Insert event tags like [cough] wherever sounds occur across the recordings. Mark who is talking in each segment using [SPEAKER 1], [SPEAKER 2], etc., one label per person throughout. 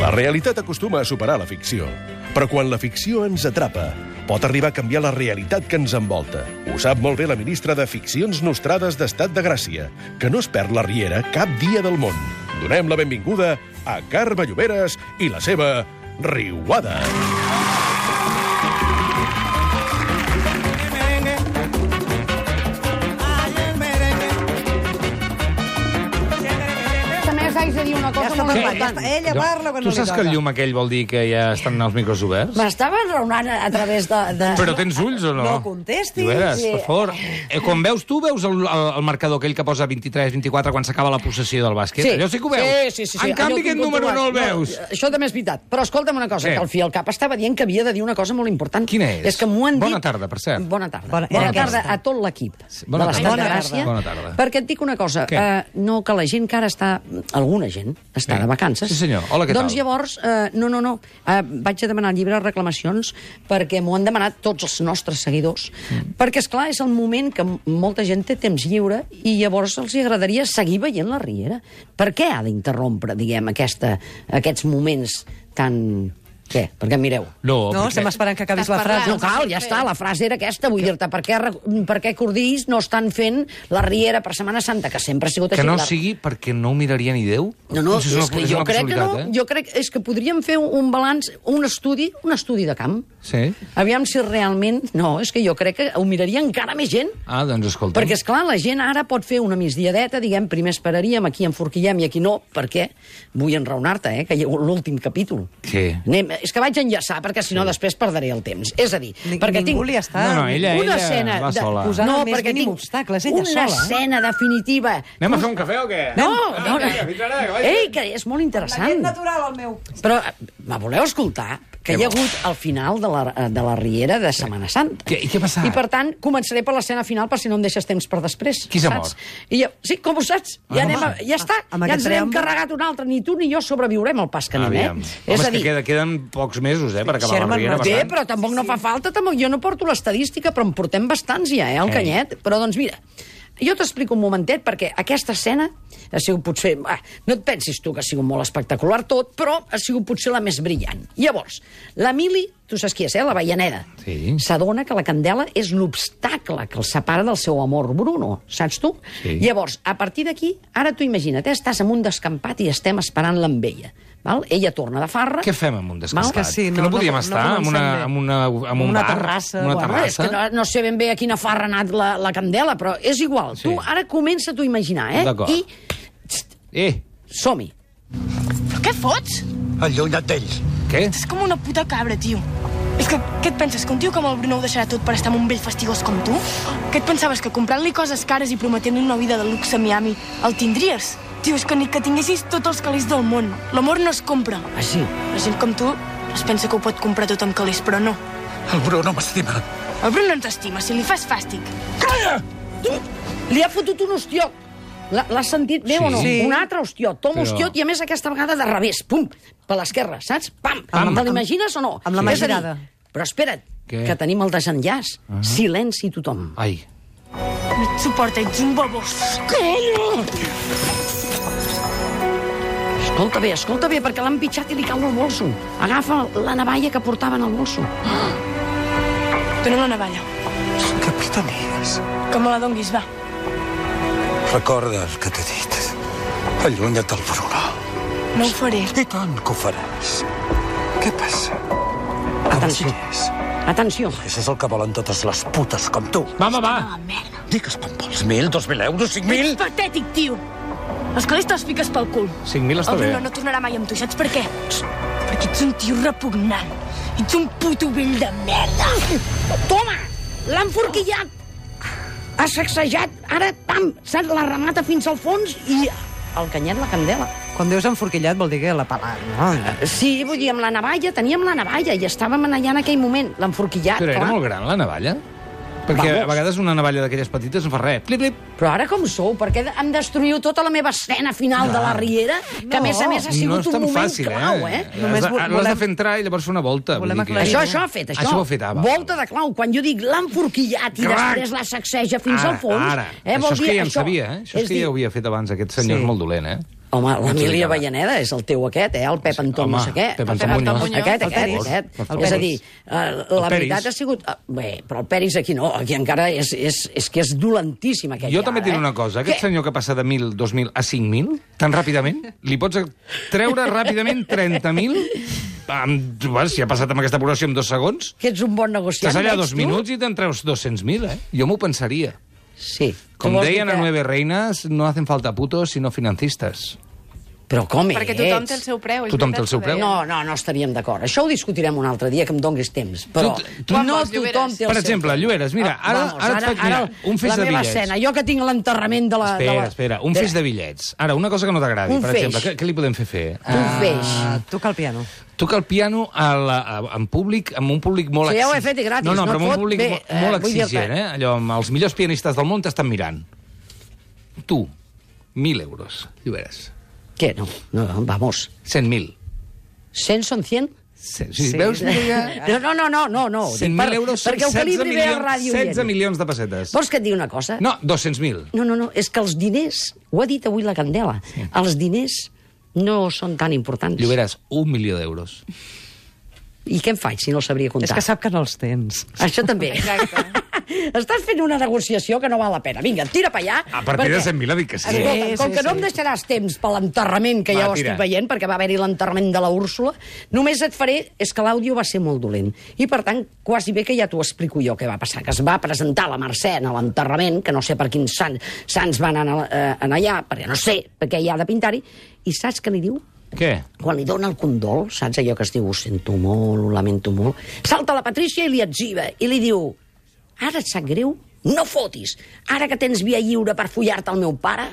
[SPEAKER 1] La realitat acostuma a superar la ficció, però quan la ficció ens atrapa, pot arribar a canviar la realitat que ens envolta. Ho sap molt bé la ministra de Ficcions Nostrades d'Estat de Gràcia, que no es perd la riera cap dia del món. Donem la benvinguda a Carme Lloberes i la seva Riuada.
[SPEAKER 2] També us haig de dir una cosa
[SPEAKER 3] Ja està
[SPEAKER 2] molt
[SPEAKER 3] parlant,
[SPEAKER 2] important.
[SPEAKER 3] ja està. Ella parla quan
[SPEAKER 4] tu
[SPEAKER 3] no li
[SPEAKER 4] saps que el
[SPEAKER 3] toca.
[SPEAKER 4] llum aquell vol dir que ja estan els micros oberts?
[SPEAKER 2] M'estava enraonant a, a través de... de...
[SPEAKER 4] Però tens ulls o no?
[SPEAKER 3] No contestis.
[SPEAKER 4] Lloberes,
[SPEAKER 2] Sí.
[SPEAKER 4] per favor. Eh, quan veus tu, veus el, el, el marcador aquell que posa 23-24 quan s'acaba la possessió del bàsquet? Allò sí que ho veus.
[SPEAKER 2] Sí, sí, sí, sí.
[SPEAKER 4] En
[SPEAKER 2] Allò
[SPEAKER 4] canvi,
[SPEAKER 2] ho
[SPEAKER 4] aquest
[SPEAKER 2] tinc
[SPEAKER 4] número no el
[SPEAKER 2] controlat.
[SPEAKER 4] veus.
[SPEAKER 2] això també és veritat. Però escolta'm una cosa,
[SPEAKER 4] Què?
[SPEAKER 2] que al fi al cap estava dient que havia de dir una cosa molt important.
[SPEAKER 4] Quina és?
[SPEAKER 2] És que m'ho han dit...
[SPEAKER 4] Bona tarda, per cert.
[SPEAKER 2] Bona tarda.
[SPEAKER 3] Bona-
[SPEAKER 2] Bona, bona
[SPEAKER 3] era
[SPEAKER 2] tarda
[SPEAKER 3] aquesta.
[SPEAKER 2] a tot l'equip
[SPEAKER 4] bona
[SPEAKER 2] de l'Estat
[SPEAKER 3] tarda.
[SPEAKER 2] de
[SPEAKER 3] Bona
[SPEAKER 2] Gràcia.
[SPEAKER 4] tarda. Bona tarda.
[SPEAKER 2] Perquè et dic una cosa.
[SPEAKER 4] Què?
[SPEAKER 2] eh, no, que la gent que ara està... Alguna gent està
[SPEAKER 4] Sí.
[SPEAKER 2] de vacances.
[SPEAKER 4] Sí, senyor. Hola, què tal?
[SPEAKER 2] Doncs llavors... eh, no, no, no. eh, vaig a demanar el llibre de reclamacions perquè m'ho han demanat tots els nostres seguidors. Perquè, és clar és el moment que m- molta gent té temps lliure i llavors els hi agradaria seguir veient la Riera. Per què ha d'interrompre, diguem, aquesta, aquests moments tan... Què? Per què em mireu?
[SPEAKER 4] No,
[SPEAKER 3] No,
[SPEAKER 4] perquè-
[SPEAKER 3] estem esperant que acabis la
[SPEAKER 5] Estàs
[SPEAKER 3] frase.
[SPEAKER 2] No cal, ja està, la frase era aquesta, vull dir-te, per què, re- per què Cordís no estan fent la Riera per Setmana Santa, que sempre ha sigut així.
[SPEAKER 4] Que no
[SPEAKER 2] la-
[SPEAKER 4] sigui perquè no ho miraria ni Déu?
[SPEAKER 2] No, no,
[SPEAKER 4] Si
[SPEAKER 2] és, que jo crec que no,
[SPEAKER 4] possibilitat, eh?
[SPEAKER 2] jo crec és que podríem fer un balanç, un estudi, un estudi de camp.
[SPEAKER 4] Sí.
[SPEAKER 2] Aviam si realment... No, és que jo crec que ho miraria encara més gent.
[SPEAKER 4] Ah, doncs escolta.
[SPEAKER 2] Perquè, és clar la gent ara pot fer una migdiadeta, diguem, primer esperaríem, aquí enforquillem i aquí no, perquè vull enraonar-te, eh, que hi ha l'últim capítol.
[SPEAKER 4] Sí.
[SPEAKER 2] Anem, és que vaig enllaçar, perquè si no després perdré el temps. És a dir,
[SPEAKER 3] Ni-
[SPEAKER 2] perquè
[SPEAKER 3] ningú
[SPEAKER 2] tinc
[SPEAKER 3] li està-
[SPEAKER 4] No, no, ella-
[SPEAKER 2] una escena...
[SPEAKER 4] va sola.
[SPEAKER 3] Posant
[SPEAKER 2] no,
[SPEAKER 3] el més
[SPEAKER 2] perquè
[SPEAKER 3] mínim
[SPEAKER 2] tinc
[SPEAKER 3] obstacles, ella
[SPEAKER 2] una
[SPEAKER 3] sola, eh?
[SPEAKER 2] escena definitiva.
[SPEAKER 4] Anem a fer un cafè o què?
[SPEAKER 2] No,
[SPEAKER 3] Anem,
[SPEAKER 2] no,
[SPEAKER 4] vinga, fins ara, que
[SPEAKER 2] no.
[SPEAKER 4] vagi bé.
[SPEAKER 2] Ei, que és molt interessant.
[SPEAKER 3] natural, el meu.
[SPEAKER 2] Però eh, me voleu escoltar? Que hi ha hagut el final de la, eh, de la Riera de Setmana Santa.
[SPEAKER 4] Què- i què ha passat?
[SPEAKER 2] I, per tant, començaré per l'escena final, per si no em deixes temps per després.
[SPEAKER 4] Qui s'ha
[SPEAKER 2] saps? I jo, sí, com ho saps?
[SPEAKER 4] Ah,
[SPEAKER 2] Ja, anem a,
[SPEAKER 4] home.
[SPEAKER 2] ja està,
[SPEAKER 3] Ah, amb
[SPEAKER 2] ja
[SPEAKER 3] aquest
[SPEAKER 2] ens n'hem
[SPEAKER 3] preàmbul.
[SPEAKER 2] carregat un altre. Ni tu ni jo sobreviurem al pas que anem, eh?
[SPEAKER 4] Aviam. Home, és que queda, queden pocs mesos, eh, per acabar
[SPEAKER 3] Sherman
[SPEAKER 4] la Riera.
[SPEAKER 3] Roger,
[SPEAKER 2] Bé,
[SPEAKER 4] bastant.
[SPEAKER 2] però tampoc no fa falta, tampoc. jo no porto l'estadística, però en portem bastants ja, eh, el
[SPEAKER 4] Ei.
[SPEAKER 2] canyet. Però doncs mira, jo t'explico un momentet, perquè aquesta escena ha sigut potser... Ah, no et pensis tu que ha sigut molt espectacular tot, però ha sigut potser la més brillant. Llavors, l'Emili, tu saps qui és, eh? La Veianeda.
[SPEAKER 4] Sí.
[SPEAKER 2] S'adona que la Candela és l'obstacle que el separa del seu amor Bruno, saps tu?
[SPEAKER 4] Sí.
[SPEAKER 2] Llavors, a partir d'aquí, ara tu imagina't, eh? estàs en un descampat i estem esperant-la amb ella. Val? Ella torna de farra...
[SPEAKER 4] Què fem amb
[SPEAKER 2] Val?
[SPEAKER 4] un descampat?
[SPEAKER 3] Que sí,
[SPEAKER 4] que
[SPEAKER 3] no,
[SPEAKER 4] no
[SPEAKER 3] no-
[SPEAKER 4] podíem
[SPEAKER 3] no
[SPEAKER 4] estar amb una,
[SPEAKER 3] comencem bé.
[SPEAKER 4] amb una, amb un
[SPEAKER 3] Una
[SPEAKER 4] bar,
[SPEAKER 3] terrassa,
[SPEAKER 4] Una
[SPEAKER 3] bueno,
[SPEAKER 2] Bueno, és
[SPEAKER 4] terrassa.
[SPEAKER 2] que no, no sé ben bé a quina fa renat la, la candela, però és igual. Sí.
[SPEAKER 4] Sí.
[SPEAKER 2] Tu ara comença a tu imaginar, eh?
[SPEAKER 4] D'acord.
[SPEAKER 2] I
[SPEAKER 4] Eh,
[SPEAKER 2] som-hi.
[SPEAKER 5] Però què fots?
[SPEAKER 6] Allunyat d'ells.
[SPEAKER 4] què?
[SPEAKER 5] És com una puta cabra, tio. És que què et penses, que un tio com el Bruno ho deixarà tot per estar amb un vell fastigós com tu? Què et pensaves, que comprant-li coses cares i prometent-li una vida de luxe a Miami el tindries? Tio, és que ni que tinguessis tots els calés del món. L'amor no es compra.
[SPEAKER 2] Així.
[SPEAKER 5] La gent com tu es pensa que ho pot comprar tot amb calés, però no.
[SPEAKER 6] El Bruno m'estima.
[SPEAKER 5] El Bruno ens estima, si li fas fàstic.
[SPEAKER 2] Li ha fotut un hostiot. L'ha l'ha sentit bé
[SPEAKER 4] Sí.
[SPEAKER 2] o no?
[SPEAKER 4] Sí.
[SPEAKER 2] Un altre hostiot. Tom
[SPEAKER 4] Però-
[SPEAKER 2] però... hostiot i, a més, aquesta vegada de revés. Pum! Per l'esquerra, saps? Pam! Pam.
[SPEAKER 4] Pam.
[SPEAKER 2] Te l'imagines o no?
[SPEAKER 3] Amb la mà
[SPEAKER 2] És a dir,
[SPEAKER 3] girada.
[SPEAKER 2] Però espera't,
[SPEAKER 4] Què?
[SPEAKER 2] Què? que tenim el desenllaç. Uh -huh. Silenci tothom.
[SPEAKER 4] Ai,
[SPEAKER 5] No et suporta, ets un babós.
[SPEAKER 2] Escolta bé, escolta bé, perquè l'han pitjat i li cau el bolso. Agafa la navalla que portaven al bolso.
[SPEAKER 5] Dóna'm la navalla.
[SPEAKER 6] Que pitonies.
[SPEAKER 5] Que me la donguis, va.
[SPEAKER 6] Recorda el que t'he dit. Allunyat del Bruno.
[SPEAKER 5] No ho faré.
[SPEAKER 6] I tant que ho faràs. Què passa?
[SPEAKER 2] Atenció. Atenció.
[SPEAKER 6] Això és el que volen totes les putes com tu.
[SPEAKER 4] va, va, va.
[SPEAKER 5] Ah,
[SPEAKER 6] Digues quan vols. Mil, dos mil euros, cinc mil...
[SPEAKER 5] Ets patètic, tio. Els calés te'ls fiques pel cul.
[SPEAKER 4] 5.000 està
[SPEAKER 5] El
[SPEAKER 4] bé.
[SPEAKER 5] Bruno no tornarà mai amb tu, saps per què? Perquè ets un tio repugnant. Ets un puto vell de merda.
[SPEAKER 2] Toma! L'han forquillat! Ha sacsejat, ara, pam, saps, la remata fins al fons i el canyet la candela.
[SPEAKER 3] Quan dius enforquillat vol dir que la palant,
[SPEAKER 2] Ah,
[SPEAKER 3] no? eh,
[SPEAKER 2] Sí, vull dir, amb la navalla, teníem la navalla i estàvem allà en aquell moment, l'enforquillat,
[SPEAKER 4] Però
[SPEAKER 2] Ah, clar.
[SPEAKER 4] era molt gran, la navalla? Perquè
[SPEAKER 2] Vamos.
[SPEAKER 4] a vegades una navalla d'aquelles petites no fa res. Plip, plip.
[SPEAKER 2] Però ara com sou? Per què em destruïu tota la meva escena final
[SPEAKER 4] Ah.
[SPEAKER 2] de la Riera? Que a més a més ha
[SPEAKER 4] no
[SPEAKER 2] sigut
[SPEAKER 4] és tan
[SPEAKER 2] un moment
[SPEAKER 4] fàcil,
[SPEAKER 2] clau, eh?
[SPEAKER 4] L'has
[SPEAKER 3] Només
[SPEAKER 4] de-
[SPEAKER 3] vo-
[SPEAKER 4] L'has de
[SPEAKER 3] volem-
[SPEAKER 4] fer entrar i llavors fer una volta. vull
[SPEAKER 3] Volem
[SPEAKER 4] dir que-
[SPEAKER 3] aclarir.
[SPEAKER 2] Això, això ha fet, això.
[SPEAKER 4] Això ho ha fet, ah, va.
[SPEAKER 2] Volta de clau. Quan jo dic l'han forquillat i
[SPEAKER 4] Clar.
[SPEAKER 2] després la sacseja fins
[SPEAKER 4] Ara,
[SPEAKER 2] al fons... eh,
[SPEAKER 4] Ara, això és que ja en sabia, eh? Això és, que
[SPEAKER 2] dir,
[SPEAKER 4] ja ho havia fet abans, aquest senyor
[SPEAKER 3] Sí.
[SPEAKER 4] és molt dolent, eh?
[SPEAKER 2] Home, l'Emília
[SPEAKER 4] explicava.
[SPEAKER 2] Avellaneda és el teu aquest, eh? El Pep Anton
[SPEAKER 4] home,
[SPEAKER 2] no sé què.
[SPEAKER 4] Pep Anton Muñoz.
[SPEAKER 2] Aquest,
[SPEAKER 3] El
[SPEAKER 2] aquest,
[SPEAKER 3] Peris.
[SPEAKER 2] aquest.
[SPEAKER 4] Per favor.
[SPEAKER 2] És a dir, eh, la
[SPEAKER 4] Peris.
[SPEAKER 2] veritat ha sigut... eh, Bé, però el Peris aquí no, aquí encara és, és, és que és dolentíssim aquest
[SPEAKER 4] Jo
[SPEAKER 2] ja,
[SPEAKER 4] també et diré
[SPEAKER 2] eh?
[SPEAKER 4] una cosa. Aquest senyor que passa de 1.000, 2.000 a 5.000, tan ràpidament, li pots treure ràpidament 30.000? Amb, bueno, si ha passat amb aquesta població en dos segons,
[SPEAKER 2] Que ets un bon negociant,
[SPEAKER 4] estàs allà
[SPEAKER 2] veig,
[SPEAKER 4] dos
[SPEAKER 2] tu?
[SPEAKER 4] minuts i te'n treus 200.000, eh? Jo m'ho pensaria.
[SPEAKER 2] Sí. Tu
[SPEAKER 4] Com
[SPEAKER 2] vols dir
[SPEAKER 4] deien a
[SPEAKER 2] que-
[SPEAKER 4] Nueve Reinas, no hacen falta putos, sinó financistes.
[SPEAKER 2] Però com
[SPEAKER 7] Perquè
[SPEAKER 2] ets?
[SPEAKER 7] tothom té el seu preu. és
[SPEAKER 4] Tothom té
[SPEAKER 7] veritat
[SPEAKER 4] el seu
[SPEAKER 7] que
[SPEAKER 4] preu.
[SPEAKER 7] deia.
[SPEAKER 2] No, no, no estaríem d'acord. Això ho discutirem un altre dia, que em donguis temps. Però
[SPEAKER 4] Tu- tu-
[SPEAKER 7] Quan
[SPEAKER 2] no
[SPEAKER 7] vols, Lloberes?
[SPEAKER 2] tothom té el
[SPEAKER 4] Per
[SPEAKER 2] seu
[SPEAKER 4] exemple,
[SPEAKER 2] temps.
[SPEAKER 4] Lloberes, mira,
[SPEAKER 2] Ah,
[SPEAKER 4] ara-
[SPEAKER 2] vamos,
[SPEAKER 4] ara et faig mirar un feix
[SPEAKER 2] la
[SPEAKER 4] de
[SPEAKER 2] meva
[SPEAKER 4] bitllets.
[SPEAKER 2] escena, jo que tinc l'enterrament de la... de
[SPEAKER 4] Espera,
[SPEAKER 2] la...
[SPEAKER 4] espera, un
[SPEAKER 2] de-
[SPEAKER 4] feix de bitllets. Ara, una cosa que no t'agradi,
[SPEAKER 2] Un
[SPEAKER 4] per
[SPEAKER 2] feix.
[SPEAKER 4] exemple, què, què li podem fer fer?
[SPEAKER 2] Un feix.
[SPEAKER 3] Ah, toca el piano.
[SPEAKER 4] Toca el piano a la, a, en públic, amb un públic molt
[SPEAKER 2] Sí, ja ho he
[SPEAKER 4] exi-
[SPEAKER 2] fet i gratis,
[SPEAKER 4] No, no,
[SPEAKER 2] no
[SPEAKER 4] però
[SPEAKER 2] et
[SPEAKER 4] amb
[SPEAKER 2] fot
[SPEAKER 4] un públic
[SPEAKER 2] bé,
[SPEAKER 4] mo-
[SPEAKER 2] eh,
[SPEAKER 4] molt
[SPEAKER 2] vull dir-te.
[SPEAKER 4] exigent, eh? Allò, amb els millors pianistes del món t'estan mirant. Tu, 1.000 euros, Lloberes.
[SPEAKER 2] Què? No, no, vamos.
[SPEAKER 4] 100.000.
[SPEAKER 2] 100 són 100?
[SPEAKER 4] Sí, sí. Veus?
[SPEAKER 2] [laughs] No, no, no, no, no. no. dic
[SPEAKER 4] 100.000
[SPEAKER 2] per-
[SPEAKER 4] euros són
[SPEAKER 2] perquè ho
[SPEAKER 4] 16
[SPEAKER 2] calibri bé a
[SPEAKER 4] milions,
[SPEAKER 2] ràdio.
[SPEAKER 4] 16
[SPEAKER 2] Ieri.
[SPEAKER 4] milions de pessetes.
[SPEAKER 2] Vols que et digui una cosa?
[SPEAKER 4] No, 200.000.
[SPEAKER 2] No, no, no, és que els diners, ho ha dit avui la Candela, sí. els diners no són tan importants.
[SPEAKER 4] Lloberes, un milió d'euros.
[SPEAKER 2] I què em faig si no el sabria
[SPEAKER 3] És
[SPEAKER 2] comptar?
[SPEAKER 3] que sap que no els tens.
[SPEAKER 2] Això també. Exacte. [laughs] Estàs fent una negociació que no val la pena. Vinga, tira pa allà.
[SPEAKER 4] A partir de 100.000 dic que sí.
[SPEAKER 2] Escolta, sí, com que no em deixaràs temps per l'enterrament, que
[SPEAKER 4] Va,
[SPEAKER 2] ja ho
[SPEAKER 4] tira.
[SPEAKER 2] estic veient, perquè va haver-hi l'enterrament de la Úrsula, només et faré... És que l'àudio va ser molt dolent. I, per tant, quasi bé que ja t'ho explico jo què va passar. Que es va presentar la Mercè en l'enterrament, que no sé per quins sants, sants van anar, eh, anar allà, perquè no sé per què hi ha de pintar-hi, i saps què li diu?
[SPEAKER 4] Què?
[SPEAKER 2] quan li dona el condol, saps allò que es diu ho sento molt, ho lamento molt, salta la Patrícia i li etziba i li diu ara et sap greu? No fotis! Ara que tens via lliure per follar-te al meu pare?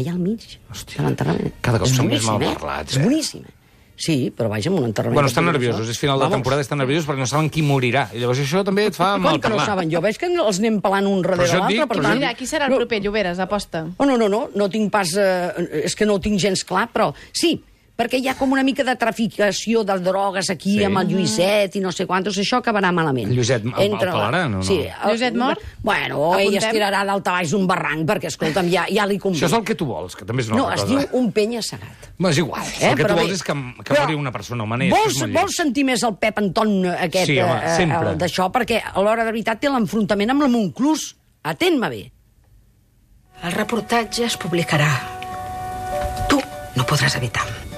[SPEAKER 2] Allà al mig, Hòstia, de l'enterrament.
[SPEAKER 4] cada cop
[SPEAKER 2] És
[SPEAKER 4] som més
[SPEAKER 2] boníssim,
[SPEAKER 4] malparlats,
[SPEAKER 2] Eh?
[SPEAKER 4] eh?
[SPEAKER 2] És boníssim. Sí, però vaja, amb un enterrament...
[SPEAKER 4] Bueno,
[SPEAKER 2] que
[SPEAKER 4] estan
[SPEAKER 2] tinguis,
[SPEAKER 4] nerviosos,
[SPEAKER 2] no?
[SPEAKER 4] és final de
[SPEAKER 2] Vamos.
[SPEAKER 4] temporada, estan nerviosos perquè no saben qui morirà. I llavors això també et fa mal
[SPEAKER 2] Com que no saben jo? Veig que els anem pelant un darrere
[SPEAKER 4] això et dic,
[SPEAKER 2] l'altre, per
[SPEAKER 4] però
[SPEAKER 2] tant...
[SPEAKER 7] Mira, qui serà el
[SPEAKER 2] No,
[SPEAKER 7] proper, Lloberes, aposta?
[SPEAKER 2] Oh, no, no, no, no tinc pas... Eh, és que no ho tinc gens clar, però sí, perquè hi ha com una mica de traficació de drogues aquí
[SPEAKER 4] Sí.
[SPEAKER 2] sí. amb el Lluiset i no sé quantos, això acabarà malament.
[SPEAKER 4] El Lluiset el- el pelaran o no?
[SPEAKER 2] Sí,
[SPEAKER 7] Lluiset mort?
[SPEAKER 2] Bueno, o ell
[SPEAKER 7] Apuntem.
[SPEAKER 2] es tirarà d'alta baix d'un barranc, perquè, escolta'm, ja, ja li convé.
[SPEAKER 4] Això és el que tu vols, que també és una
[SPEAKER 2] No, es
[SPEAKER 4] altra
[SPEAKER 2] diu
[SPEAKER 4] cosa.
[SPEAKER 2] un penya segat.
[SPEAKER 4] Bueno, és igual.
[SPEAKER 2] Eh?
[SPEAKER 4] El que tu
[SPEAKER 2] Però
[SPEAKER 4] vols
[SPEAKER 2] bé,
[SPEAKER 4] és que, que
[SPEAKER 2] però
[SPEAKER 4] mori una persona humana. i això
[SPEAKER 2] Vols,
[SPEAKER 4] és molt lleig.
[SPEAKER 2] vols sentir més el Pep Anton aquest
[SPEAKER 4] Sí, home,
[SPEAKER 2] eh,
[SPEAKER 4] sempre.
[SPEAKER 2] eh, d'això, perquè a l'hora de veritat té l'enfrontament amb la Montclús. Atén-me bé.
[SPEAKER 8] El reportatge es publicarà. Tu no podràs evitar-ho.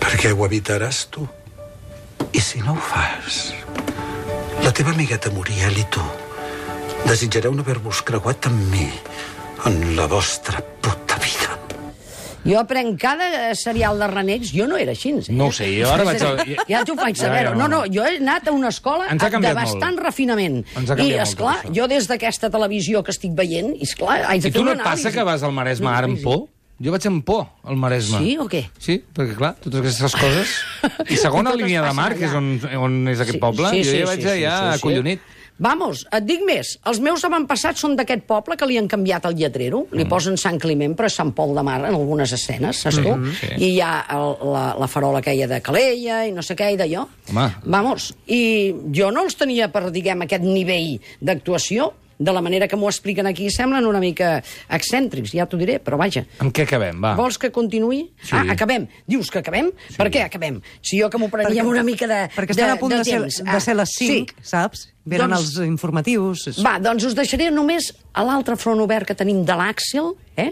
[SPEAKER 6] Perquè ho evitaràs tu. I si no ho fas, la teva amigueta Muriel i tu desitjareu no haver-vos creuat amb mi en la vostra puta vida.
[SPEAKER 2] Jo aprenc cada eh, serial de renecs, jo no era així. Eh?
[SPEAKER 4] No ho sé, jo ara vaig al-
[SPEAKER 2] [laughs] Ja, ja t'ho faig saber.
[SPEAKER 4] Ja, ja,
[SPEAKER 2] No,
[SPEAKER 4] no.
[SPEAKER 2] no, jo he anat a una escola
[SPEAKER 4] Ens ha
[SPEAKER 2] de
[SPEAKER 4] canviat molt.
[SPEAKER 2] bastant refinament.
[SPEAKER 4] Ens ha
[SPEAKER 2] I,
[SPEAKER 4] canviat molt
[SPEAKER 2] esclar,
[SPEAKER 4] tot això.
[SPEAKER 2] jo des d'aquesta televisió que estic veient, esclar, haig de
[SPEAKER 4] I tu
[SPEAKER 2] fer
[SPEAKER 4] no
[SPEAKER 2] una
[SPEAKER 4] et passa
[SPEAKER 2] anàlisi.
[SPEAKER 4] que vas al Maresme ara amb por? Jo vaig amb por al Maresme.
[SPEAKER 2] Sí, o què?
[SPEAKER 4] Sí, perquè clar, totes aquestes
[SPEAKER 2] [laughs]
[SPEAKER 4] coses... I segona
[SPEAKER 2] Totes
[SPEAKER 4] línia de
[SPEAKER 2] passen
[SPEAKER 4] mar, que és on, on és aquest poble, jo ja vaig allà acollonit.
[SPEAKER 2] Vamos, et dic més, els meus avantpassats són d'aquest poble que li han canviat el lletrero, li
[SPEAKER 4] Mm.
[SPEAKER 2] posen Sant Climent, però és Sant Pol de Mar en algunes escenes, saps tu?
[SPEAKER 4] Mm-hmm, sí.
[SPEAKER 2] I hi ha el, la, la farola aquella de Calella i no sé què, i d'allò.
[SPEAKER 4] Home.
[SPEAKER 2] Vamos, i jo no els tenia per, diguem, aquest nivell d'actuació, de la manera que m'ho expliquen aquí semblen una mica excèntrics, ja t'ho diré, però vaja.
[SPEAKER 4] Amb què acabem, va?
[SPEAKER 2] Vols que continuï?
[SPEAKER 4] Ah. Sí.
[SPEAKER 2] Ah, acabem. Dius que acabem? Per què acabem? Si jo que m'ho prenia amb una mica de
[SPEAKER 3] Perquè estan a punt de, ser,
[SPEAKER 2] temps.
[SPEAKER 3] de ser les
[SPEAKER 2] Ah,
[SPEAKER 3] 5,
[SPEAKER 2] Sí.
[SPEAKER 3] saps? Venen
[SPEAKER 2] Doncs-
[SPEAKER 3] els informatius.
[SPEAKER 2] Va, doncs us deixaré només a l'altre front obert que tenim de l'Àxel, eh?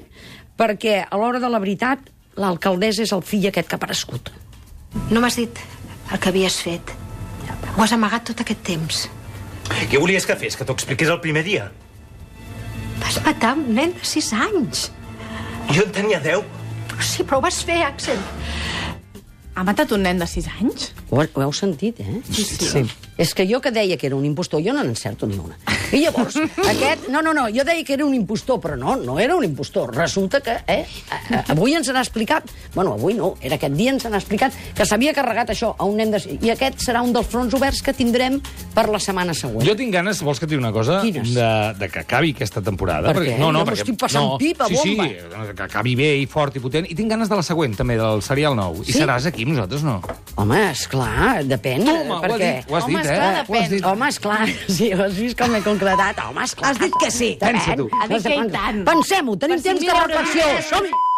[SPEAKER 2] perquè a l'hora de la veritat l'alcaldessa és el fill aquest que ha aparegut.
[SPEAKER 8] No m'has dit el que havies fet. Ho has amagat tot aquest temps.
[SPEAKER 9] Què volies que fes? Que t'ho expliqués el primer dia?
[SPEAKER 8] Vas matar un nen de sis anys.
[SPEAKER 9] Jo en tenia 10.
[SPEAKER 8] Sí, però ho vas fer, Axel.
[SPEAKER 7] Ha matat un nen de 6 anys?
[SPEAKER 2] Ho, ho heu sentit, eh? Sí, sí. sí. És que jo que deia que era un impostor, jo no n'encerto ni una. I llavors, aquest... No, no, no, jo deia que era un impostor, però no, no era un impostor. Resulta que, eh, a- a- avui ens han explicat... Bueno, avui no, era aquest dia ens han explicat que s'havia carregat això a un nen de... I aquest serà un dels fronts oberts que tindrem per la setmana següent.
[SPEAKER 4] Jo tinc ganes, vols que et digui una cosa?
[SPEAKER 2] Quines?
[SPEAKER 4] De, de que acabi aquesta temporada.
[SPEAKER 2] Per què?
[SPEAKER 4] No, no,
[SPEAKER 2] Jo m'ho
[SPEAKER 4] perquè,
[SPEAKER 2] estic passant
[SPEAKER 4] no,
[SPEAKER 2] pipa,
[SPEAKER 4] sí,
[SPEAKER 2] bomba.
[SPEAKER 4] Sí, que acabi bé i fort i potent. I tinc ganes de la següent, també, del serial nou.
[SPEAKER 2] Sí?
[SPEAKER 4] I seràs aquí, amb nosaltres no.
[SPEAKER 2] Home, esclar, depèn.
[SPEAKER 4] Home, ho has
[SPEAKER 2] perquè...
[SPEAKER 4] dit, ho has
[SPEAKER 7] Home,
[SPEAKER 4] dit,
[SPEAKER 7] esclar,
[SPEAKER 4] eh? Ho has
[SPEAKER 7] depèn.
[SPEAKER 4] dit.
[SPEAKER 2] Home, esclar, [laughs] sí, has vist com, com amb claredat. Home, esclar.
[SPEAKER 3] Has dit que sí.
[SPEAKER 2] Depèn.
[SPEAKER 4] Pensa tu.
[SPEAKER 7] Ha dit que i tant.
[SPEAKER 2] Pensem-ho, tenim
[SPEAKER 7] Per
[SPEAKER 2] temps de
[SPEAKER 7] 5.000
[SPEAKER 2] reflexió.
[SPEAKER 7] euros.
[SPEAKER 2] Som-hi!